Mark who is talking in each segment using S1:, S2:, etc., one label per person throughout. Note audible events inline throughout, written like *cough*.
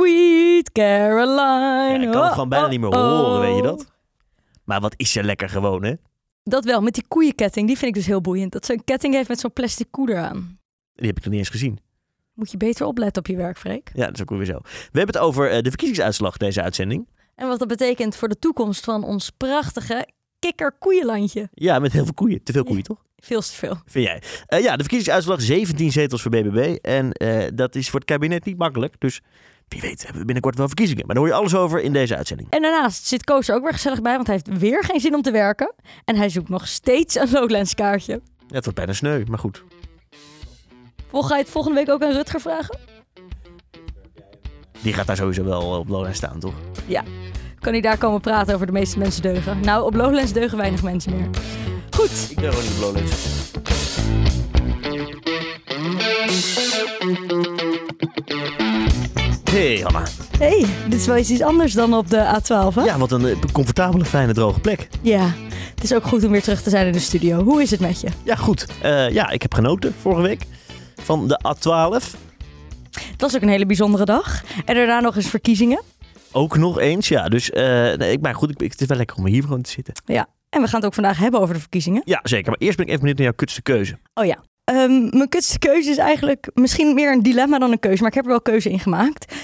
S1: Sweet Caroline.
S2: Ja, ik kan
S1: Oh,
S2: het gewoon bijna
S1: oh,
S2: niet meer
S1: oh.
S2: horen, weet je dat? Maar wat is ze lekker gewoon, hè?
S1: Dat wel, met die koeienketting. Die vind ik dus heel boeiend. Dat ze een ketting heeft met zo'n plastic koeder aan.
S2: Die heb ik nog niet eens gezien.
S1: Moet je beter opletten op je werk, Freek.
S2: Ja, dat is ook weer zo. We hebben het over eh, de verkiezingsuitslag deze uitzending.
S1: En wat dat betekent voor de toekomst van ons prachtige kikkerkoeienlandje.
S2: Ja, met heel veel koeien. Te veel koeien, toch?
S1: Veel te veel.
S2: Vind jij? Eh, ja, de verkiezingsuitslag 17 zetels voor BBB. En eh, dat is voor het kabinet niet makkelijk. Dus wie weet hebben we binnenkort wel verkiezingen. Maar daar hoor je alles over in deze uitzending.
S1: En daarnaast zit Koos er ook weer gezellig bij, want hij heeft weer geen zin om te werken. En hij zoekt nog steeds een Lowlands kaartje.
S2: Ja, het wordt bijna sneu, maar goed.
S1: Vol- Ga je het volgende week ook aan Rutger vragen?
S2: Die gaat daar sowieso wel eh, op Lowlands staan, toch?
S1: Kan hij daar komen praten over de meeste mensen deugen? Nou, op Lowlands deugen weinig mensen meer. Goed,
S2: Ik ben gewoon niet op Lowlands. Hey Hanna.
S1: hey, dit is wel iets anders dan op de A12, hè?
S2: Ja, wat een eh, comfortabele, fijne, droge plek.
S1: Ja. Het is ook goed om weer terug te zijn in de studio. Hoe is het met je?
S2: Ja, goed. Eh, ja, ik heb genoten vorige week van de A12.
S1: Het was ook een hele bijzondere dag. En daarna nog eens verkiezingen.
S2: Ook nog eens, ja. Dus, eh, nee, ik, maar goed, ik, ik- het is wel lekker om hier gewoon te zitten.
S1: Ja. En we gaan het ook vandaag hebben over de verkiezingen.
S2: Ja, zeker. Maar eerst ben ik even benieuwd naar jouw kutste keuze.
S1: Oh ja. Ehm, mijn kutste keuze is eigenlijk misschien meer een dilemma dan een keuze, maar ik heb er wel keuze in gemaakt.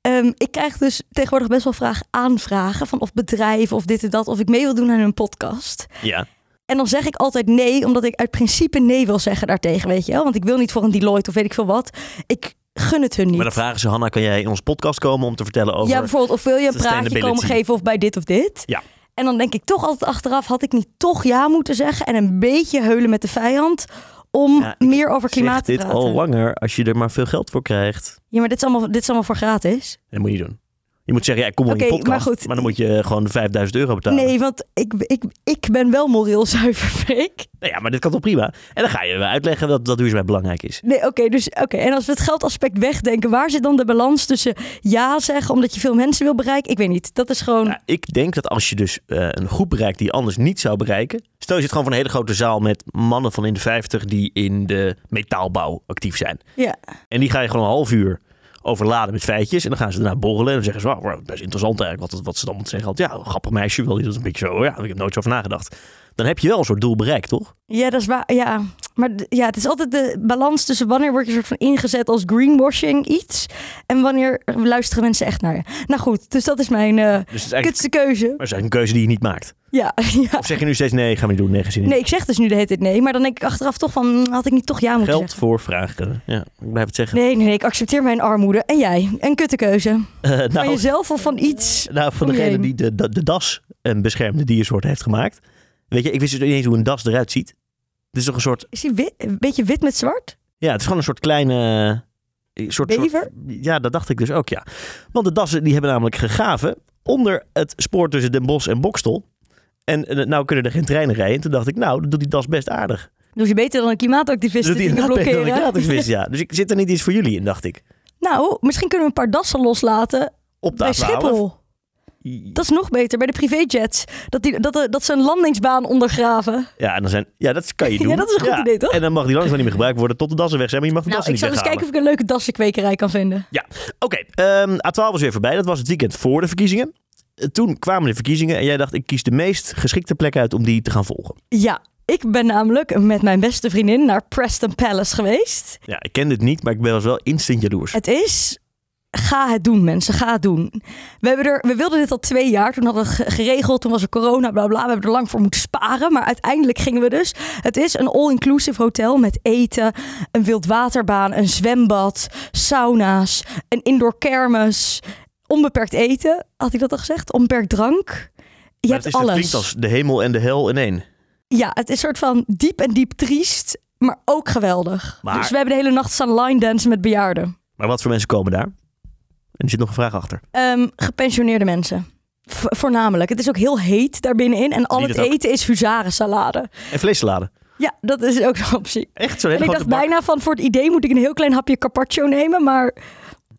S1: Ehm, ik krijg dus tegenwoordig best wel vraag aanvragen van of bedrijven of dit en dat, of ik mee wil doen aan hun podcast.
S2: Ja.
S1: En dan zeg ik altijd nee, omdat ik uit principe nee wil zeggen daartegen, weet je wel. Want ik wil niet voor een Deloitte of weet ik veel wat. Ik gun het hun niet.
S2: Maar dan vragen ze, Hanna, kan jij in onze podcast komen om te vertellen over...
S1: Ja, bijvoorbeeld, of wil je een praatje
S2: sustainability.
S1: komen geven of bij dit of dit?
S2: Ja.
S1: En dan denk ik toch altijd achteraf, had ik niet toch ja moeten zeggen en een beetje heulen met de vijand om
S2: Ja, ik
S1: meer over klimaat te
S2: Zeg dit
S1: praten.
S2: al langer, als je er maar veel geld voor krijgt.
S1: Ja, maar dit is allemaal, dit is allemaal voor gratis.
S2: Dat moet je niet doen. Je moet zeggen, ja, ik kom wel in
S1: Oké,
S2: je podcast.
S1: maar
S2: Maar,
S1: goed.
S2: dan moet je gewoon 5000 euro betalen.
S1: Nee, want ik, ik, ik ben wel moreel *laughs* zuiver, Freek.
S2: Nou ja, maar dit kan toch prima? En dan ga je uitleggen dat, dat duurzaamheid belangrijk is.
S1: Nee, oké. dus, oké. En als we het geldaspect wegdenken, waar zit dan de balans tussen ja zeggen omdat je veel mensen wil bereiken? Ik weet niet. Dat is gewoon...
S2: Ja, Nou, ik denk dat als je dus eh, een groep bereikt die je anders niet zou bereiken. Stel je zit gewoon van een hele grote zaal met mannen van in de 50 die in de metaalbouw actief zijn.
S1: Ja.
S2: En die ga je gewoon een half uur overladen met feitjes. En dan gaan ze daarna borrelen. En dan zeggen ze, wauw, wauw, dat is interessant eigenlijk wat, wat ze dan moeten zeggen. Ja, een grappig meisje wil je dat een beetje zo. Ja, ik heb nooit zo over nagedacht. Dan heb je wel een soort doel bereikt, toch?
S1: Ja, dat is waar. Ja. Maar d- ja, het is altijd de balans tussen wanneer word je soort van ingezet als greenwashing iets en wanneer luisteren mensen echt naar je. Nou goed, dus dat is mijn eh,
S2: Dus het is eigenlijk,
S1: kutste keuze.
S2: maar het is eigenlijk een keuze die je niet maakt.
S1: Ja, *laughs* ja.
S2: Of zeg je nu steeds nee, gaan we niet doen, nee, geen zin in.
S1: Nee, ik zeg dus nu de hele tijd nee, maar dan denk ik achteraf toch van mm, had ik niet toch ja moeten
S2: Geld
S1: zeggen.
S2: voor vragen. Ja, ik blijf het zeggen.
S1: Nee, nee, nee, ik accepteer mijn armoede. En jij? Een kutte keuze.
S2: Eh,
S1: Van
S2: nou,
S1: jezelf of van iets?
S2: nou, van
S1: om je
S2: degene
S1: heen.
S2: die de, de, de das een beschermde diersoort heeft gemaakt. Weet je, ik wist dus niet eens hoe een das eruit ziet. Het is toch een soort,
S1: Is hij wit, een beetje wit met zwart?
S2: ja, het is gewoon een soort kleine... eh, Soort, soort-
S1: Bever?
S2: ja, dat dacht ik dus ook, ja. Want de dassen die hebben namelijk gegraven onder het spoor tussen Den Bosch en Bokstel. En eh, nou kunnen er geen treinen rijden. En toen dacht ik, nou, dat doet die das best aardig.
S1: Doe Dus je beter dan een klimaatactivist
S2: dat
S1: die
S2: doet
S1: dingen
S2: inderdaad Dus *laughs* beter dan ik
S1: blokkeren?
S2: gratis wist, ja. Dus ik zit er niet iets voor jullie in, dacht ik.
S1: Nou, misschien kunnen we een paar dassen loslaten
S2: Op de
S1: bij
S2: A12.
S1: Schiphol. Dat is nog beter, bij de privéjets. Dat, die, dat, eh, dat ze een landingsbaan ondergraven.
S2: Ja, en dan zijn, ja, dat kan je
S1: *laughs*
S2: doen.
S1: Ja, dat is een goed idee, toch?
S2: En dan mag die langzaam niet meer gebruikt worden tot de dassen weg zijn. Maar je mag de
S1: nou,
S2: dassen
S1: ik
S2: niet
S1: zal eens
S2: weghalen.
S1: kijken of ik een leuke dassenkwekerij kan vinden.
S2: Oké, ehm, A12 was weer voorbij. Dat was het weekend voor de verkiezingen. Eh, Toen kwamen de verkiezingen en jij dacht, ik kies de meest geschikte plek uit om die te gaan volgen.
S1: Ja, ik ben namelijk met mijn beste vriendin naar Preston Palace geweest.
S2: Ja, ik ken dit niet, maar ik was wel instant jaloers.
S1: Het is... Ga het doen, mensen. Ga het doen. We, hebben er, we wilden dit al twee jaar. Toen hadden we ge- geregeld. Toen was er corona, bla bla. We hebben er lang voor moeten sparen. Maar uiteindelijk gingen we dus. Het is een all-inclusive hotel met eten, een wildwaterbaan, een zwembad, sauna's, een indoor kermis. Onbeperkt eten, had ik dat al gezegd? Onbeperkt drank. Je
S2: Maar
S1: hebt
S2: het, is,
S1: alles.
S2: het klinkt als de hemel en de hel in één.
S1: Ja, het is soort van diep en diep triest, maar ook geweldig.
S2: Maar-
S1: Dus we hebben de hele nacht staan line dansen met bejaarden.
S2: Maar wat voor mensen komen daar? En er zit nog een vraag achter.
S1: Ehm, gepensioneerde mensen. V- voornamelijk. Het is ook heel heet daarbinnenin. En al
S2: Die
S1: het
S2: dat ook.
S1: eten is huzarensalade.
S2: En vleessalade.
S1: Ja, dat is ook een optie.
S2: Echt zo'n
S1: En
S2: hele
S1: ik
S2: grote
S1: dacht
S2: bak.
S1: bijna van voor het idee moet ik een heel klein hapje carpaccio nemen. Maar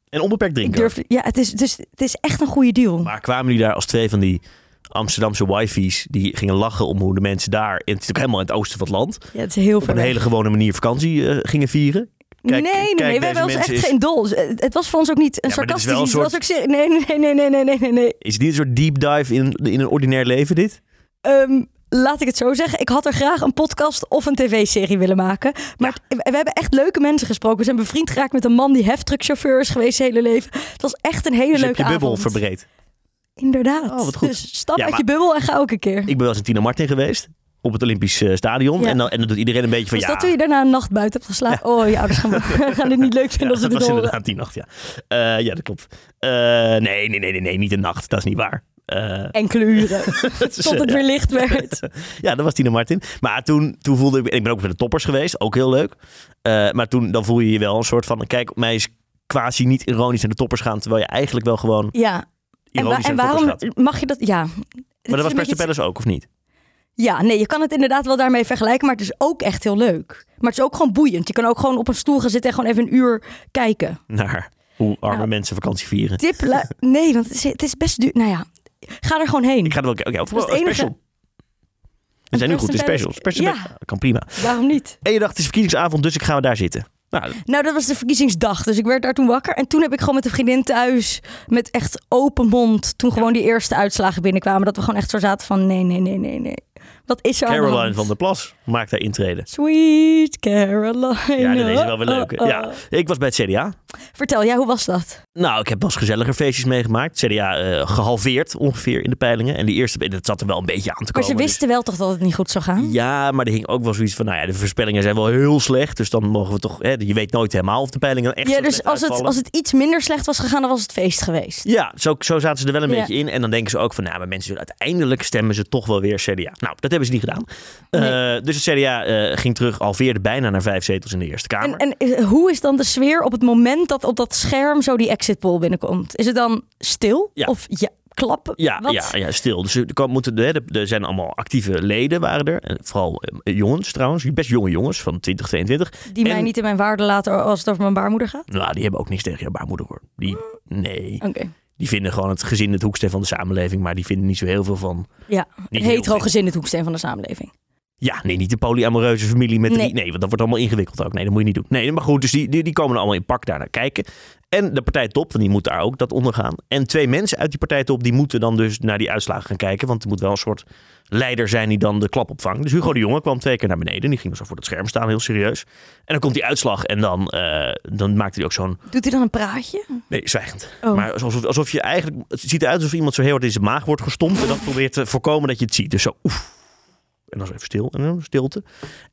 S2: En onbeperkt
S1: ik
S2: drinken.
S1: durfde. Ja, het is, het, is, het is echt een goede deal.
S2: Maar kwamen die daar als twee van die Amsterdamse wifi's... die gingen lachen om hoe de mensen daar... en het is natuurlijk helemaal in het oosten van het land...
S1: ja, het is heel
S2: op een
S1: veel.
S2: hele gewone manier vakantie eh, gingen vieren. Kijk,
S1: nee, nee,
S2: kijk,
S1: nee. We
S2: deze
S1: hebben ons echt
S2: mensen is-
S1: geen dol. Het het was voor ons ook niet een
S2: Ja, maar dit is
S1: sarcastisch
S2: wel een
S1: iets. Het was ook serie- Nee, nee, nee, nee, nee, nee, nee, nee.
S2: Is dit een soort deep dive in, in een ordinair leven dit?
S1: Ehm, laat ik het zo zeggen. Ik had er graag een podcast of een tv-serie willen maken. Maar het- we hebben echt leuke mensen gesproken. We zijn bevriend geraakt met een man die heftruckchauffeur is geweest zijn hele leven. Het was echt een hele
S2: Dus je hebt
S1: leuke
S2: je bubbel
S1: avond.
S2: verbreed.
S1: Inderdaad.
S2: Oh, wat goed.
S1: Dus stap
S2: Ja,
S1: uit
S2: maar-
S1: je bubbel en ga ook een keer.
S2: Ik ben wel eens in Tina Martin geweest. Op het Olympisch eh, Stadion.
S1: Ja.
S2: En, dan, en dan doet iedereen een beetje van
S1: dus
S2: ja.
S1: dat toen je daarna een nacht buiten hebt geslapen. Oh, je ouders gaan,
S2: *laughs*
S1: *laughs* gaan dit niet leuk vinden
S2: Ja,
S1: als ze
S2: dat
S1: dit
S2: was
S1: horen.
S2: inderdaad die nacht, ja. Eh, ja, dat klopt. Eh, nee, nee, nee, nee, nee, niet de nacht. Dat is niet waar. Eh,
S1: Enkele uren.
S2: *laughs* dat is,
S1: Tot
S2: eh,
S1: het
S2: ja.
S1: weer licht werd.
S2: *laughs* Ja, dat was Tina Martin. Maar toen, toen voelde ik... en Ik ben ook met de toppers geweest, ook heel leuk. Eh, maar toen dan voel je je wel een soort van... Kijk, mij is quasi niet ironisch naar de toppers gaan... terwijl je eigenlijk wel gewoon
S1: Ja. En, wa-
S2: ironisch
S1: en
S2: naar de toppers
S1: waarom
S2: gaat.
S1: mag je dat? Ja.
S2: Maar dat was
S1: best
S2: Beste Palace ook, of niet?
S1: Ja, nee, je kan het inderdaad wel daarmee vergelijken, maar het is ook echt heel leuk. Maar het is ook gewoon boeiend. Je kan ook gewoon op een stoel gaan zitten en gewoon even een uur kijken.
S2: Naar hoe arme
S1: Nou.
S2: mensen vakantie vieren.
S1: Tip, lu- nee, want het is, het is best duur. Nou ja, ga er gewoon heen.
S2: Ik ga er wel... Oké, of
S1: Dat is
S2: oh,
S1: het
S2: special. We zijn nu goed in
S1: Beste
S2: specials. Special
S1: Palace.
S2: kan prima.
S1: Waarom niet?
S2: En je dacht, het is verkiezingsavond, dus ik ga daar zitten. Nou,
S1: Nou, dat was de verkiezingsdag, dus ik werd daar toen wakker. En toen heb ik gewoon met een vriendin thuis, met echt open mond, toen gewoon die eerste uitslagen binnenkwamen. Dat we gewoon echt zo zaten van, nee, nee, nee, nee, nee. Wat is er aan de
S2: Caroline
S1: hand?
S2: van der Plas maakt daar intreden.
S1: Sweet Caroline.
S2: Ja, dat is wel weer
S1: Oh,
S2: leuk. hè?
S1: oh,
S2: Ja,
S1: oh.
S2: ik was bij het CDA.
S1: Vertel, ja, hoe was dat?
S2: Nou, ik heb wel eens gezelliger feestjes meegemaakt. CDA eh, gehalveerd ongeveer in de peilingen. En die eerste, dat zat er wel een beetje aan te
S1: Maar
S2: komen.
S1: ze wisten wel toch dat het niet goed zou gaan?
S2: dus- ja, maar er hing ook wel zoiets van, nou ja, de voorspellingen zijn wel heel slecht. Dus dan mogen we toch, hè, je weet nooit helemaal of de peilingen dan echt
S1: Ja,
S2: zo
S1: dus
S2: slecht
S1: als het,
S2: uitvallen.
S1: als het iets minder slecht was gegaan, dan was het feest geweest.
S2: Ja, zo, zo zaten ze er wel een
S1: Ja.
S2: beetje in. En dan denken ze ook van, nou, maar mensen zullen uiteindelijk stemmen ze toch wel weer CDA. Nou, dat hebben ze niet gedaan.
S1: Nee.
S2: Eh, dus het CDA eh, ging terug, halveerde bijna naar vijf zetels in de Eerste Kamer.
S1: En, en is- hoe is dan de sfeer op het moment dat op dat scherm zo die exit poll binnenkomt? Is het dan stil?
S2: Ja.
S1: Of ja, klappen?
S2: Ja,
S1: Wat?
S2: ja, ja, stil. Dus er, kan- moeten, de- de- er zijn allemaal actieve leden, waren er. En Vooral eh, jongens trouwens, best jonge jongens van 20, 22.
S1: Die mij
S2: En-
S1: niet in mijn waarde laten als het over mijn baarmoeder gaat?
S2: Nou, die hebben ook niks tegen jouw baarmoeder hoor. Die, nee,
S1: Oké.
S2: die vinden gewoon het gezin het hoeksteen van de samenleving, maar die vinden niet zo heel veel van...
S1: Ja,
S2: heel
S1: een hetero
S2: veel.
S1: gezin het hoeksteen van de samenleving.
S2: Ja, nee, niet de polyamoreuze familie met drie...
S1: Nee.
S2: Nee, want dat wordt allemaal ingewikkeld ook. Nee, dat moet je niet doen. Nee, maar goed, dus die, die, die komen er allemaal in pak daar naar kijken. En de partijtop, want die moet daar ook dat ondergaan. En twee mensen uit die partijtop, die moeten dan dus naar die uitslagen gaan kijken. Want er moet wel een soort leider zijn die dan de klap opvangt. Dus Hugo de Jonge kwam twee keer naar beneden. Die ging zo voor het scherm staan, heel serieus. En dan komt die uitslag en dan, eh, dan maakte hij ook zo'n...
S1: Doet hij dan een praatje?
S2: Nee, zwijgend.
S1: Oh.
S2: Maar alsof, alsof je eigenlijk... Het ziet eruit alsof iemand zo heel hard in zijn maag wordt gestompt. En dat probeert te voorkomen dat je het ziet. Dus zo oef. En dan zo even stil. En dan stilte.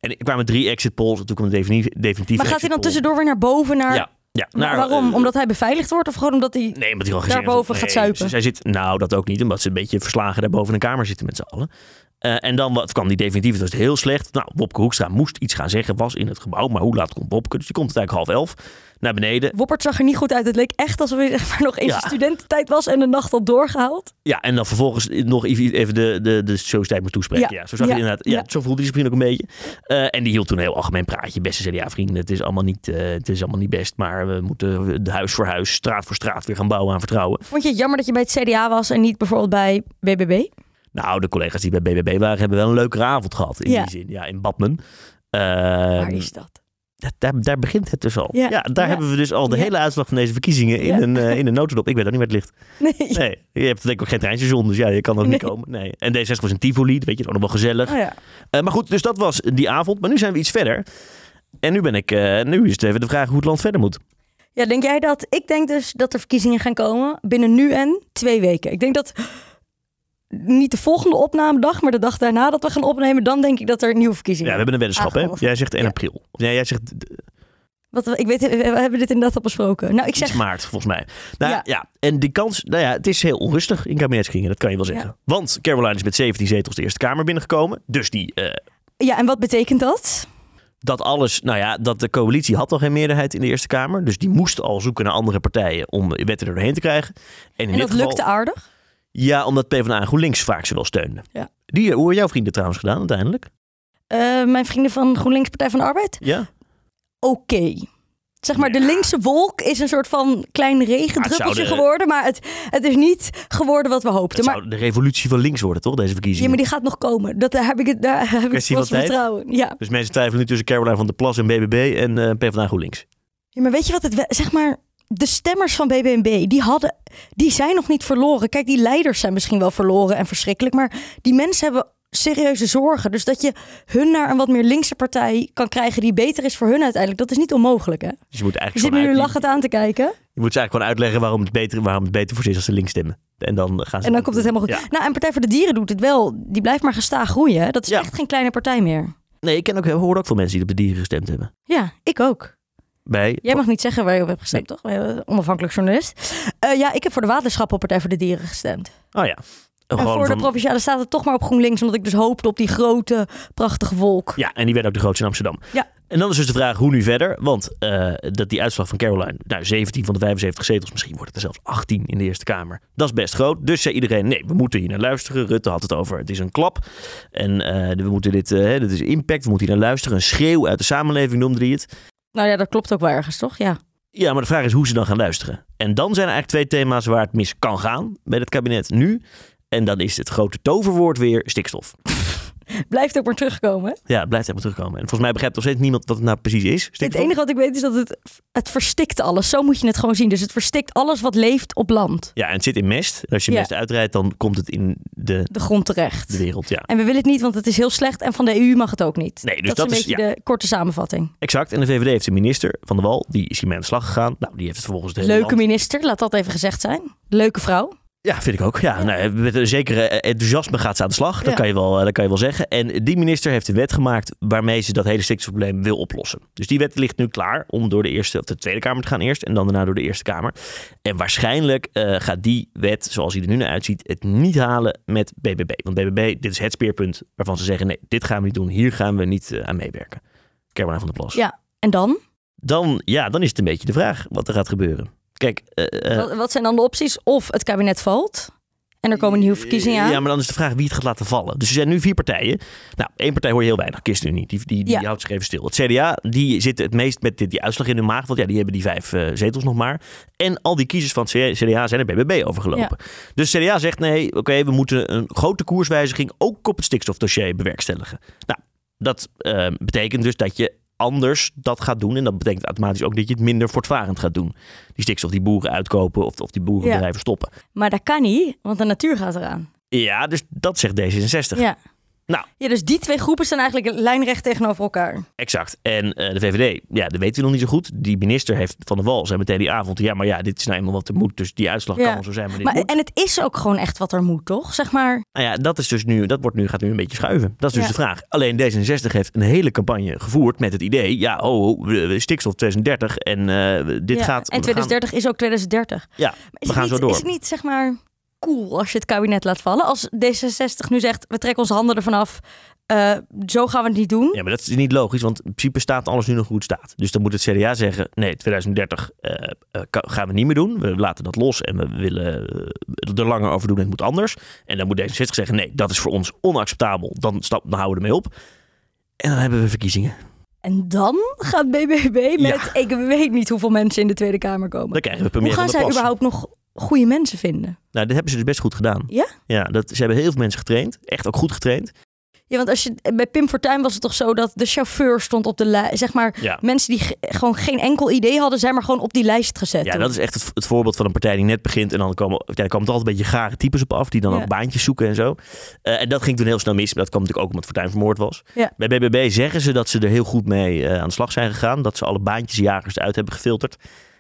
S2: En er kwamen drie exit polls. En toen kwam een defini- definitieve
S1: Maar gaat hij dan
S2: exit poll.
S1: tussendoor weer naar boven? Naar...
S2: Ja. ja
S1: Wa-
S2: naar,
S1: Waarom?
S2: eh,
S1: Omdat hij beveiligd wordt of gewoon omdat hij...
S2: Nee, omdat hij al gezien heeft,
S1: Daarboven
S2: nee,
S1: gaat zuipen.
S2: ze- Zij zit, nou, dat ook niet. Omdat ze een beetje verslagen daar boven in de kamer zitten met z'n allen. Eh, en dan wat, kwam die definitief. Het was heel slecht. Nou, Wopke Hoekstra moest iets gaan zeggen. Was in het gebouw. Maar hoe laat komt Wopke? Dus die komt eigenlijk half elf naar beneden.
S1: Woppert zag er niet goed uit. Het leek echt alsof hij zeg maar, nog eens
S2: Ja.
S1: studententijd was en de nacht had doorgehaald.
S2: Ja, en dan vervolgens nog even de, de, de sociëteit moet toespreken. Ja.
S1: Ja.
S2: zo zag hij
S1: Ja.
S2: inderdaad. Ja,
S1: Ja.
S2: Zo voelde hij zich misschien ook een beetje. Eh, en die hield toen een heel algemeen praatje. Beste CDA-vrienden, het, is allemaal niet, eh, het is allemaal niet best. Maar we moeten het huis voor huis, straat voor straat weer gaan bouwen aan vertrouwen.
S1: Vond je het jammer dat je bij het CDA was en niet bijvoorbeeld bij BBB?
S2: Nou, de collega's die bij BBB waren, hebben wel een leukere avond gehad. In
S1: Ja.
S2: die zin, ja, in Badmen. Eh,
S1: Waar is dat? *laughs*
S2: dat- daar, daar begint het dus al. Ja,
S1: Ja.
S2: daar
S1: Ja.
S2: hebben we dus al de
S1: Ja.
S2: hele uitslag van deze verkiezingen in,
S1: Ja.
S2: een, eh, in een notendop. Ik weet ook niet met licht.
S1: Nee.
S2: Nee, je hebt denk ik ook geen treinstation, dus ja, je kan ook niet
S1: Nee.
S2: komen. Nee. En D60 was in Tivoli, dat weet je, dat is ook nog wel gezellig.
S1: Oh ja.
S2: Eh, maar goed, dus dat was die avond. Maar nu zijn we iets verder. En nu, ben ik, eh, nu is het even de vraag hoe het land verder moet.
S1: ja, denk jij dat? Ik denk dus dat er verkiezingen gaan komen binnen nu en twee weken. Ik denk dat niet de volgende opnamedag, maar de dag daarna dat we gaan opnemen, dan denk ik dat er nieuwe
S2: Ja,
S1: verkiezingen
S2: we hebben een weddenschap, hè?
S1: Aangekondigd.
S2: Jij zegt 1
S1: Ja.
S2: april. Of nee, jij zegt eh,
S1: Wat, ik weet, we hebben dit inderdaad al besproken. Nou, ik
S2: iets
S1: zeg,
S2: maart, volgens mij. Nou, ja.
S1: Ja.
S2: en die kans, nou ja, het is heel onrustig in kabinetsgingen, dat kan je wel zeggen. Want Caroline is met 17 zetels de Eerste Kamer binnengekomen. Dus die, eh,
S1: ja, en wat betekent dat?
S2: dat alles, nou ja, dat de coalitie had al geen meerderheid in de Eerste Kamer. Dus die moest al zoeken naar andere partijen om wetten er doorheen te krijgen. En, in
S1: En
S2: dit
S1: dat
S2: geval,
S1: lukte aardig.
S2: Ja, omdat PvdA en GroenLinks vaak ze wel steunden.
S1: Ja.
S2: Die, eh, hoe hebben jouw vrienden trouwens gedaan uiteindelijk?
S1: Eh, mijn vrienden van GroenLinks Partij van de Arbeid,
S2: Ja.
S1: oké. Zeg maar, de linkse wolk is een soort van klein regendruppeltje
S2: zouden-
S1: geworden, maar het, het is niet geworden wat we hoopten.
S2: Het
S1: Maar
S2: zou de revolutie van links worden, toch? Deze
S1: Ja,
S2: verkiezingen.
S1: maar die gaat nog komen. Dat, daar heb ik het daar heb ik
S2: Kwestie
S1: het
S2: van tijd?
S1: vertrouwen. Ja.
S2: Dus mensen twijfelen nu tussen Caroline van der Plas en BBB en eh, PvdA GroenLinks.
S1: Ja, maar weet je wat het... we- Zeg maar, de stemmers van BBNB, die, hadden, die zijn nog niet verloren. Kijk, die leiders zijn misschien wel verloren en verschrikkelijk. Maar die mensen hebben serieuze zorgen. Dus dat je hun naar een wat meer linkse partij kan krijgen... die beter is voor hun uiteindelijk, dat is niet onmogelijk, hè?
S2: Dus je moet
S1: Je
S2: eigenlijk
S1: zit
S2: gewoon
S1: me nu
S2: uit-
S1: lachend aan te kijken.
S2: Je moet ze eigenlijk gewoon uitleggen waarom het beter, waarom het beter voor ze is als ze links stemmen. En dan gaan ze.
S1: En dan komt het helemaal goed.
S2: Ja.
S1: Nou, en Partij voor de Dieren doet het wel. Die blijft maar gestaag groeien. hè? Dat is
S2: Ja.
S1: echt geen kleine partij meer.
S2: Nee, ik ken ook, hoor ook veel mensen die op de dieren gestemd hebben.
S1: Ja, ik ook.
S2: Bij.
S1: Jij mag niet zeggen waar je op hebt gestemd, toch? We hebben onafhankelijk journalist. Eh, ja, ik heb voor de waterschappen op Partij voor de Dieren gestemd.
S2: Oh ja.
S1: en
S2: Gewoon
S1: voor
S2: van-
S1: de Provinciale Staten toch maar op GroenLinks. Omdat ik dus hoopte op die grote, prachtige wolk.
S2: Ja, en die werd ook de grootste in Amsterdam.
S1: Ja.
S2: En dan is dus de vraag hoe nu verder. Want eh, dat die uitslag van Caroline, nou 17 van de 75 zetels, misschien wordt het er zelfs 18 in de Eerste Kamer. Dat is best groot. Dus zei iedereen, nee, we moeten hier naar luisteren. Rutte had het over, het is een klap. En eh, we moeten dit, eh, hè, dit is impact, we moeten hier naar luisteren. Een schreeuw uit de samenleving noemde hij het.
S1: Nou ja, dat klopt ook wel ergens, toch? Ja.
S2: Ja, maar de vraag is hoe ze dan gaan luisteren. En dan zijn er eigenlijk twee thema's waar het mis kan gaan bij het kabinet nu. En dan is het grote toverwoord weer stikstof.
S1: Blijft ook maar terugkomen.
S2: Ja, het blijft helemaal terugkomen. En volgens mij begrijpt nog steeds niemand wat het nou precies is.
S1: Het
S2: stikstof.
S1: enige wat ik weet is dat het, het verstikt alles. Zo moet je het gewoon zien. Dus het verstikt alles wat leeft op land.
S2: Ja, en het zit in mest. En als je
S1: Ja.
S2: mest uitrijdt, dan komt het in de,
S1: De grond terecht.
S2: de wereld. Ja,
S1: En we willen het niet, want het is heel slecht. En van de EU mag het ook niet.
S2: Nee, dus
S1: dat,
S2: dat
S1: is
S2: is-
S1: een beetje de korte samenvatting.
S2: exact. En de VVD heeft een minister, Van der Wal, die is hiermee aan de slag gegaan. Nou, die heeft het vervolgens de hele
S1: Leuke
S2: land-
S1: minister, laat dat even gezegd zijn. Leuke vrouw.
S2: Ja, vind ik ook. Ja, nou, met een zekere eh, enthousiasme gaat ze aan de slag. Dat,
S1: Ja.
S2: kan je wel, eh, dat kan je wel zeggen. En die minister heeft een wet gemaakt waarmee ze dat hele stikstofprobleem wil oplossen. Dus die wet ligt nu klaar om door de Eerste of de Tweede Kamer te gaan eerst. En dan daarna door de Eerste Kamer. En waarschijnlijk eh, gaat die wet, zoals die er nu naar uitziet, het niet halen met BBB. Want BBB, dit is het speerpunt waarvan ze zeggen, nee, dit gaan we niet doen. Hier gaan we niet eh, aan meewerken. Caroline van der Plas.
S1: Ja. En dan?
S2: Dan, ja, dan is het een beetje de vraag wat er gaat gebeuren. Kijk, eh, eh,
S1: Wat, wat zijn dan de opties? Of het kabinet valt en er komen nieuwe verkiezingen aan.
S2: Eh, Ja, maar dan is de vraag wie het gaat laten vallen. Dus er zijn nu vier partijen. Nou, één partij hoor je heel weinig, ChristenUnie. Die, die, die
S1: Ja.
S2: houdt zich even stil. Het CDA, die zit het meest met dit, die uitslag in hun maag. Want ja, die hebben die vijf eh, zetels nog maar. En al die kiezers van het CDA zijn er BBB overgelopen. Dus CDA zegt nee, oké, we moeten een grote koerswijziging... ook op het stikstofdossier bewerkstelligen. Nou, dat eh, betekent dus dat je anders dat gaat doen. En dat betekent automatisch ook dat je het minder voortvarend gaat doen. Die stikstof die boeren uitkopen of, of die boerenbedrijven stoppen.
S1: Maar dat kan niet, want de natuur gaat eraan.
S2: Ja, dus dat zegt D66.
S1: Ja.
S2: Nou.
S1: ja, dus die twee groepen staan eigenlijk lijnrecht tegenover elkaar.
S2: Exact. En eh, de VVD, ja, dat weten we nog niet zo goed. Die minister heeft van de wal, zei meteen die avond, ja, maar ja, dit is nou eenmaal wat er moet. Dus die uitslag
S1: Ja.
S2: kan wel zo zijn, maar dit
S1: Maar,
S2: moet.
S1: en het is ook gewoon echt wat er moet, toch? Zeg maar,
S2: Nou ja, dat is dus nu, dat wordt nu, gaat nu een beetje schuiven. Dat is dus
S1: Ja.
S2: de vraag. Alleen D66 heeft een hele campagne gevoerd met het idee, ja, oh, oh, eh, stikstof 2030 en eh, dit
S1: ja,
S2: gaat...
S1: en
S2: we gaan-
S1: 2030 is ook 2030.
S2: ja,
S1: Maar is
S2: we
S1: het
S2: gaan
S1: niet,
S2: zo door.
S1: Is het niet, zeg maar, cool als je het kabinet laat vallen? Als D66 nu zegt, we trekken onze handen ervan af, eh, zo gaan we het niet doen.
S2: Ja, maar dat is niet logisch, want in principe staat alles nu nog goed staat. Dus dan moet het CDA zeggen, nee, 2030 eh, eh, ka- gaan we niet meer doen. We laten dat los en we willen eh, er langer over doen en het moet anders. En dan moet D66 zeggen, nee, dat is voor ons onacceptabel. Dan, stap, dan houden we ermee op. En dan hebben we verkiezingen.
S1: En dan gaat BBB
S2: Ja.
S1: met, ik weet niet hoeveel mensen in de Tweede Kamer komen.
S2: Dan krijgen we
S1: Hoe
S2: premier van
S1: gaan
S2: de
S1: zij
S2: Plas.
S1: überhaupt nog goede mensen vinden?
S2: Nou, dit hebben ze dus best goed gedaan.
S1: Ja?
S2: Ja, dat, ze hebben heel veel mensen getraind. Echt ook goed getraind.
S1: Ja, want als je, bij Pim Fortuyn was het toch zo dat de chauffeur stond op de lijst. Zeg maar,
S2: Ja.
S1: mensen die ge- gewoon geen enkel idee hadden, zijn maar gewoon op die lijst gezet.
S2: Ja,
S1: toen.
S2: dat is echt het, het voorbeeld van een partij die net begint. En dan komen, ja, er komen er altijd een beetje gare types op af. Die dan
S1: Ja.
S2: ook baantjes zoeken en zo. Eh, en dat ging toen heel snel mis. Maar dat kwam natuurlijk ook omdat Fortuyn vermoord was.
S1: Ja.
S2: Bij BBB zeggen ze dat ze er heel goed mee eh, aan de slag zijn gegaan. Dat ze alle baantjesjagers eruit hebben gefilterd.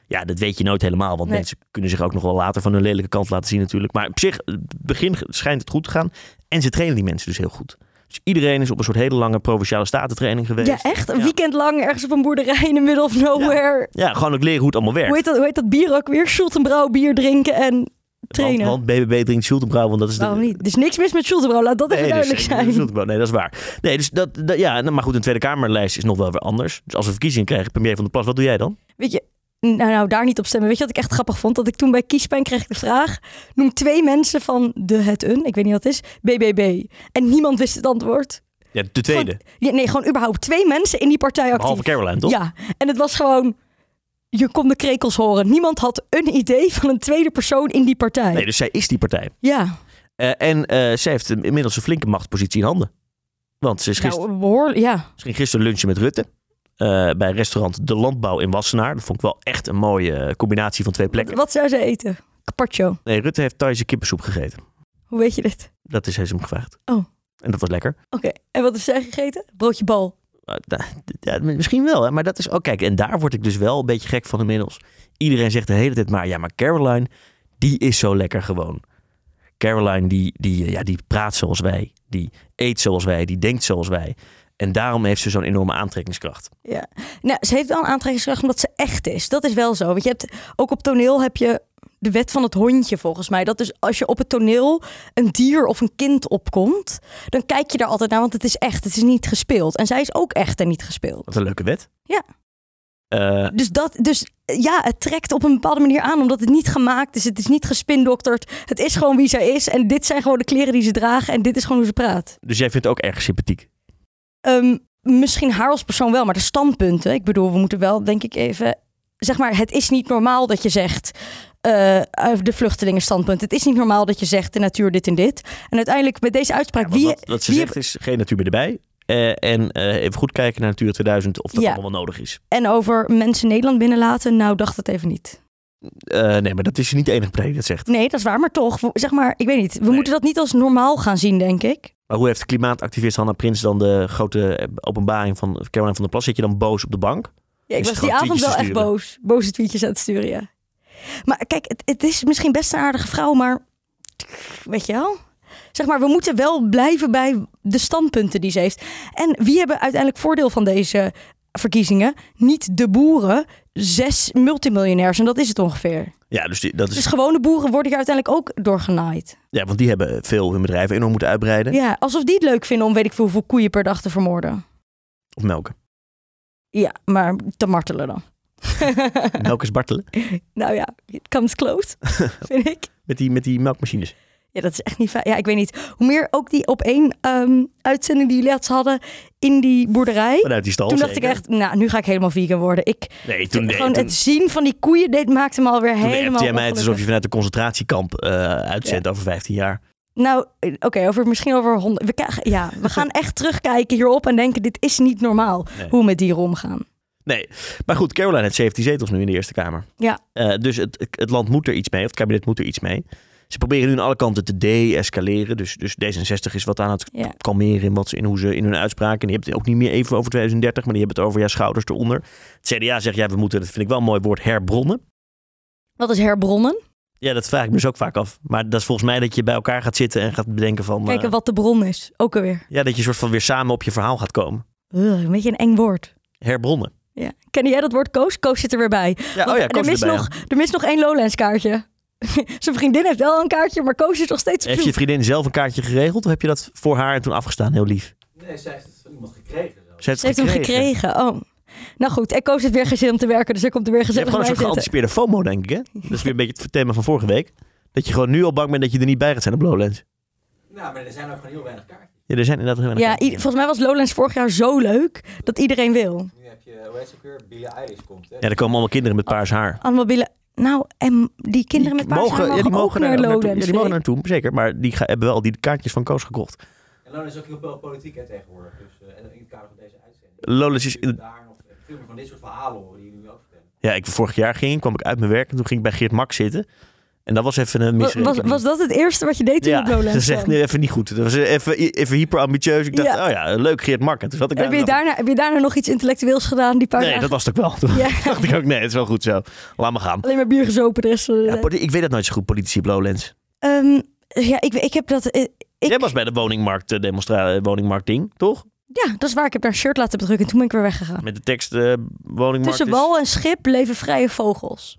S2: Ja, dat weet je nooit helemaal. Want
S1: Nee.
S2: mensen kunnen zich ook nog wel later van hun lelijke kant laten zien natuurlijk. Maar op zich, het begin schijnt het goed te gaan. En ze trainen die mensen dus heel goed. Dus iedereen is op een soort hele lange provinciale statentraining geweest.
S1: ja echt. Een
S2: Ja.
S1: weekend lang ergens op een boerderij in the middle of nowhere.
S2: Ja, gewoon ook leren hoe het allemaal werkt.
S1: Hoe, heet dat, hoe heet dat bier ook weer? Schultenbrouw bier drinken en trainen.
S2: Want, want BBB drinkt Schultenbrouw, want dat is de,
S1: Waarom niet? Er is niks mis met Schultenbrouw, laat dat even
S2: Nee, dus,
S1: duidelijk
S2: eh,
S1: zijn.
S2: dat is wel- nee, dat is waar. Nee, dus dat, dat- ja, nou, maar goed, een Tweede Kamerlijst is nog wel weer anders. Dus als we verkiezingen krijgen, premier van de Plas, wat doe jij dan?
S1: Weet je, nou, nou daar niet op stemmen. Weet je wat ik echt grappig vond? Dat ik toen bij Kiespijn kreeg ik de vraag: noem twee mensen van de het een, ik weet niet wat het is, BBB. En niemand wist het antwoord.
S2: Ja, de tweede.
S1: Gewoon- ja, nee, gewoon überhaupt twee mensen in die partij actief.
S2: Behalve Caroline, toch?
S1: Ja, en het was gewoon. Je kon de krekels horen. Niemand had een idee van een tweede persoon in die partij.
S2: Nee, dus zij is die partij.
S1: Ja,
S2: Eh, en eh zij heeft een- inmiddels een flinke machtspositie in handen. Want ze is gister-
S1: nou, behoorlijk. Ja.
S2: ze ging gisteren lunchen met Rutte. eh, bij restaurant De Landbouw in Wassenaar. Dat vond ik wel echt een mooie eh, combinatie van twee plekken.
S1: Wat zou ze eten? Carpaccio.
S2: Nee, Rutte heeft Thaise kippensoep gegeten.
S1: Hoe weet je dit?
S2: Dat is heeft ze hem gevraagd.
S1: Oh.
S2: En dat was lekker.
S1: Oké. En wat heeft zij gegeten? Broodje bal.
S2: Eh, da- ja, misschien wel, hè? maar dat is ook. kijk, en daar word ik dus wel een beetje gek van inmiddels. Iedereen zegt de hele tijd maar, ja, maar Caroline, die is zo lekker gewoon. Caroline, die, die, eh, ja, die praat zoals wij, die eet zoals wij, die denkt zoals wij. En daarom heeft ze zo'n enorme aantrekkingskracht.
S1: Ja. Nou, ze heeft wel een aantrekkingskracht omdat ze echt is. Dat is wel zo. Want je hebt ook op toneel heb je de wet van het hondje volgens mij. Dat is als je op het toneel een dier of een kind opkomt, dan kijk je daar altijd naar, want het is echt. Het is niet gespeeld. En zij is ook echt en niet gespeeld.
S2: Wat een leuke wet.
S1: Ja.
S2: Eh,
S1: Dus dat, dus eh, ja, het trekt op een bepaalde manier aan, omdat het niet gemaakt is. Het is niet gespindokterd. Het is gewoon wie zij is. En dit zijn gewoon de kleren die ze dragen. En dit is gewoon hoe ze praat.
S2: dus jij vindt het ook erg sympathiek.
S1: Ehm, misschien haar als persoon wel, maar de standpunten. Ik bedoel, we moeten wel, denk ik, even. Zeg maar, het is niet normaal dat je zegt. eh, eh, de vluchtelingen standpunt. Het is niet normaal dat je zegt de natuur dit en dit. En uiteindelijk met deze uitspraak.
S2: Ja, want
S1: wie,
S2: wat, wat ze
S1: wie
S2: zegt is geen natuur meer erbij. Eh, en eh, even goed kijken naar Natuur 2000 of dat
S1: Ja.
S2: allemaal wel nodig is.
S1: En over mensen Nederland binnenlaten. Nou, dacht het even niet.
S2: Eh, nee, maar dat is niet de enige partij die dat zegt.
S1: Nee, dat is waar, maar toch. we- Zeg maar, ik weet niet. We moeten dat niet als normaal gaan zien, denk ik.
S2: Maar hoe heeft klimaatactivist Hanna Prins dan de grote eh, openbaring van Caroline van der Plas? Zit je dan boos op de bank?
S1: Ja, ik
S2: Is
S1: was
S2: het
S1: die
S2: gewoon
S1: avond wel
S2: tweetjes
S1: echt
S2: te
S1: boos. Boze tweetjes aan het sturen, ja. Maar kijk, het, het is misschien best een aardige vrouw, maar weet je wel? Zeg maar, we moeten wel blijven bij de standpunten die ze heeft. En wie hebben uiteindelijk voordeel van deze verkiezingen? Niet de boeren, zes multimiljonairs. En dat is het ongeveer.
S2: Ja, dus die, dat is,
S1: Dus gewone boeren worden hier uiteindelijk ook doorgenaaid.
S2: ja, want die hebben veel hun bedrijven enorm moeten uitbreiden.
S1: Ja, alsof die het leuk vinden om weet ik veel hoeveel koeien per dag te vermoorden.
S2: Of melken.
S1: Ja, maar te martelen
S2: *laughs*
S1: dan.
S2: Melk is bartelen.
S1: *laughs* nou ja, it comes close, *laughs* vind ik.
S2: Met die, met die melkmachines.
S1: Ja, dat is echt niet fijn. Ja, ik weet niet. Hoe meer ook die op één ehm, uitzending die jullie laatst hadden in die boerderij.
S2: Vanuit die stal.
S1: Toen dacht ik
S2: zeker.
S1: echt, nou, nu ga ik helemaal vegan worden. Ik,
S2: Nee, toen, nee,
S1: gewoon
S2: toen,
S1: het zien van die koeien deed, maakte me alweer
S2: toen
S1: helemaal
S2: appte jij mij het
S1: ongelukkig.
S2: alsof je vanuit een concentratiekamp eh, uitzendt over 15 jaar.
S1: Nou, eh, oké, over, misschien over honderd. We, ka- ja,
S2: *laughs*
S1: we gaan echt terugkijken hierop en denken, dit is niet normaal
S2: Nee.
S1: hoe we met dieren omgaan.
S2: Nee, maar goed, Caroline heeft 17 zetels nu in de Eerste Kamer.
S1: Ja.
S2: Eh, dus het, het land moet er iets mee, of het kabinet moet er iets mee. Ze proberen nu aan alle kanten te de-escaleren. Dus, dus D66 is wat aan het
S1: Ja.
S2: kalmeren in, wat ze, in hoe ze in hun uitspraken. En die hebben het ook niet meer even over 2030, maar die hebben het over ja, schouders eronder. Het CDA zegt, ja, we moeten, dat vind ik wel een mooi woord, herbronnen.
S1: Wat is herbronnen?
S2: Ja, dat vraag ik me dus ook vaak af. Maar dat is volgens mij dat je bij elkaar gaat zitten en gaat bedenken van... eh,
S1: Kijken wat de bron is. Ook alweer.
S2: Ja, dat je soort van weer samen op je verhaal gaat komen.
S1: Ugh, een beetje een eng woord.
S2: Herbronnen.
S1: Ja. Ken jij dat woord Koos? Koos zit er weer bij.
S2: Ja,
S1: Want
S2: oh ja,
S1: er,
S2: koos
S1: mist
S2: erbij,
S1: nog, er mist nog één Lowlands kaartje. *laughs* Zijn vriendin heeft wel een kaartje, maar Koos is nog steeds
S2: ja.
S1: op
S2: Heeft je
S1: zoek.
S2: vriendin zelf een kaartje geregeld of heb je dat voor haar en toen afgestaan? Heel lief.
S3: Nee, zij heeft het van iemand gekregen zelfs.
S2: Ze heeft,
S1: Ze heeft hem gekregen. Oh. Nou goed, en Koos heeft weer geen zin om te werken, dus hij komt er weer
S2: Je hebt
S1: gezellig
S2: gewoon
S1: bij
S2: zo'n
S1: zitten.
S2: geanticipeerde FOMO, denk ik. Hè? Dat is weer een beetje het thema van vorige week. Dat je gewoon nu al bang bent dat je er niet bij gaat zijn op Lowlands.
S3: Nou, maar er zijn ook gewoon heel weinig kaartjes.
S2: Ja, er zijn inderdaad heel weinig
S1: Ja, i-
S2: kaarten.
S1: volgens mij was Lowlands vorig jaar zo leuk dat iedereen wil.
S3: Nu heb je, hoe heet ze ook weer? Billie Eilish komt, hè?
S2: ja, er komen allemaal kinderen met paars haar.
S1: Allemaal willen... Nou, en die kinderen met paars haar mogen,
S2: ja, die
S1: ook
S2: daar-
S1: naar
S2: naartoe. Ja,
S1: Lowlands.
S2: die mogen
S1: vind ik.
S2: naartoe, zeker. Maar die ga- hebben wel die kaartjes van Koos gekocht.
S3: En Lona is ook heel veel politiek hè, tegenwoordig. Dus, eh, en in het kader van deze uitzending.
S2: Lowlands is...
S3: Zullen we daar nog veel meer van dit soort verhalen horen die jullie nu ook vertellen.
S2: Ja, ik, vorig jaar ging, kwam ik uit mijn werk en toen ging ik bij Geert Mak zitten. En dat was even een
S1: Wa- was,
S2: misrekening.
S1: was dat het eerste wat je deed toen je
S2: ja,
S1: op Lowlands
S2: *laughs* dat is echt
S1: kwam?
S2: even niet goed. Dat was even, even hyper ambitieus. Ik dacht,
S1: Ja.
S2: oh ja, leuk Geert Mak. En toen zat ik
S1: En Heb je,
S2: en dacht
S1: daarna, heb je daarna nog iets intellectueels gedaan, die paar
S2: ik, Nee,
S1: dagen?
S2: dat was het ook wel. *laughs* Toen
S1: Ja.
S2: dacht ik ook, nee, het is wel goed zo. Laat maar gaan.
S1: Alleen maar bier gezopen de rest van de
S2: Ja,
S1: dag.
S2: politi- ik weet dat nooit zo goed, politici op Lowlands.
S1: Ehm, ja, ik, ik heb dat... eh, Ik,
S2: Jij was bij de woningmarkt, eh, demonstra- eh, woningmarkt ding, toch?
S1: Ja, dat is waar. Ik heb daar een shirt laten bedrukken en toen ben ik weer weggegaan.
S2: Met de tekst eh, woningmarkt
S1: Tussen
S2: is-
S1: wal en schip leven vrije vogels.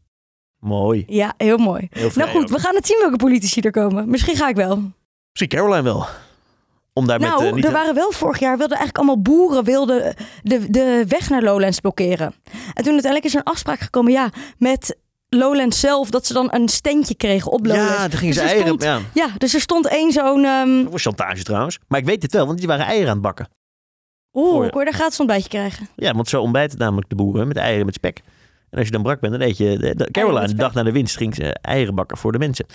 S2: Mooi.
S1: Ja, heel mooi.
S2: Heel vrij
S1: Nou goed,
S2: ook.
S1: we gaan het zien welke politici er komen. Misschien ga ik wel.
S2: Misschien Caroline wel. Om daar met...
S1: nou,
S2: eh, niet
S1: er
S2: te-
S1: waren wel vorig jaar, wilden eigenlijk allemaal boeren wilden eh, de, de weg naar Lowlands blokkeren. En toen uiteindelijk is er een afspraak gekomen, ja, met Lowlands zelf, dat ze dan een standje kregen op Lowlands.
S2: Ja, toen gingen ze
S1: Dus er
S2: eieren...
S1: stond-
S2: Ja,
S1: ja, dus er stond één zo'n... ehm
S2: dat was chantage trouwens. Maar ik weet het wel, want die waren eieren aan het bakken.
S1: Oeh,
S2: Voor-
S1: ik hoor daar gratis ontbijtje krijgen.
S2: Ja, want zo ontbijten namelijk de boeren met eieren met spek. En als je dan brak bent, dan eet je... de- de- Caroline,
S1: met
S2: de
S1: spek.
S2: dag na de winst, ging ze eieren bakken voor de mensen.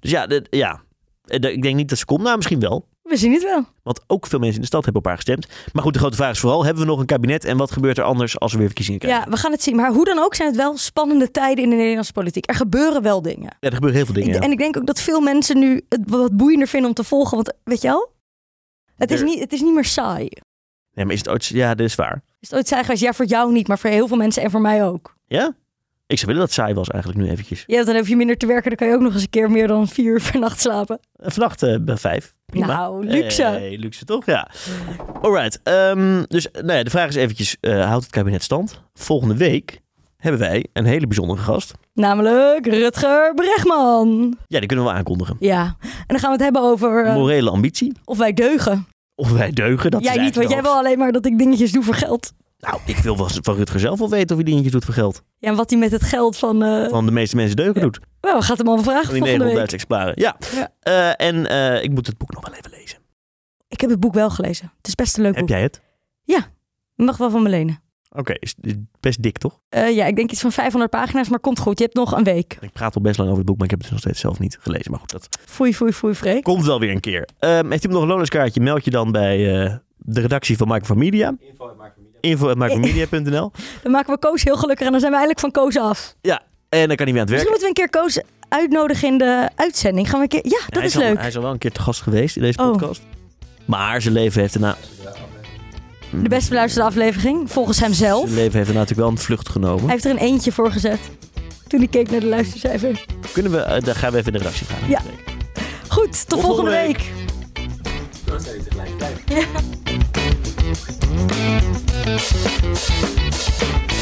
S2: Dus ja, de- ja. Eh, de- ik denk niet dat ze komt. Nou, misschien wel.
S1: We zien het wel.
S2: Want ook veel mensen in de stad hebben op haar gestemd. Maar goed, de grote vraag is vooral, hebben we nog een kabinet? En wat gebeurt er anders als we weer verkiezingen krijgen?
S1: Ja, we gaan het zien. Maar hoe dan ook zijn het wel spannende tijden in de Nederlandse politiek. Er gebeuren wel dingen.
S2: Ja, er gebeuren heel veel dingen.
S1: Ik-
S2: ja.
S1: En ik denk ook dat veel mensen nu het wat boeiender vinden om te volgen. Want weet je wel? Het is
S2: Er-
S1: niet, het is niet meer saai.
S2: Nee, maar is het ooit... Ja, dat is waar.
S1: Is het ooit saai geweest? Ja, voor jou niet, maar voor heel veel mensen en voor mij ook.
S2: Ja? Ik zou willen dat het saai was eigenlijk nu eventjes.
S1: Ja, dan heb je minder te werken. Dan kan je ook nog eens een keer meer dan vier uur per nacht slapen.
S2: Eh, Vannacht eh, bij vijf. Prima.
S1: Nou, luxe.
S2: Hey, luxe toch, ja. Alright. ehm, dus nou ja, de vraag is eventjes, eh, houdt het kabinet stand? Volgende week hebben wij een hele bijzondere gast.
S1: Namelijk Rutger Bregman.
S2: Ja, die kunnen we wel aankondigen.
S1: Ja, en dan gaan we het hebben over eh,
S2: Morele ambitie.
S1: of wij deugen.
S2: Of wij deugen, dat
S1: jij
S2: is
S1: niet, want
S2: eigenlijk
S1: jij
S2: de
S1: wil alleen maar dat ik dingetjes doe voor geld.
S2: hoofd- Nou, ik wil wel van Rutger zelf wel weten of hij dingetjes doet voor geld.
S1: Ja, en wat hij met het geld van... eh
S2: Van de meeste mensen deugen doet.
S1: Wel, we gaan het hem al
S2: Van
S1: vragen
S2: die
S1: volgende week.
S2: 900 Duitse exemplaren. Ja.
S1: Ja.
S2: Eh, en eh, ik moet het boek nog wel even lezen.
S1: Ik heb het boek wel gelezen. Het is best een leuk
S2: Heb
S1: boek.
S2: jij het?
S1: Je mag wel van me lenen.
S2: Oké, is is best dik toch?
S1: Eh, ja, ik denk iets van 500 pagina's, maar komt goed. Je hebt nog een week.
S2: Ik praat al best lang over het boek, maar ik heb het dus nog steeds zelf niet gelezen. Maar goed, dat
S1: Foei, foei, foei, Freek.
S2: Komt wel weer een keer. Ehm, heeft iemand nog een loonskaartje? Meld je dan bij eh, de redactie van Micro van Media.
S3: Info uit Maak Media.
S2: Info at
S1: *laughs*
S2: micromedia.nl.
S1: Dan maken we Koos heel gelukkig en dan zijn we eigenlijk van Koos af.
S2: En dan kan hij weer aan het werk.
S1: Misschien moeten we een keer Koos uitnodigen in de uitzending. Gaan we een keer... Ja, dat
S2: hij
S1: is
S2: al-
S1: leuk.
S2: Hij is al wel een keer te gast geweest in deze
S1: Oh.
S2: podcast. Maar zijn leven heeft daarna,
S1: De best beluisterde aflevering, volgens hemzelf.
S2: zijn leven heeft daarna natuurlijk wel een vlucht genomen.
S1: Hij heeft er een eentje voor gezet. Toen hij keek naar de luistercijfer.
S2: Kunnen we, eh, daar gaan we even in de redactie gaan.
S1: Ja. Goed, tot, volgende
S2: volgende
S1: week.
S2: week.
S3: Dat zijn jullie tegelijkertijd.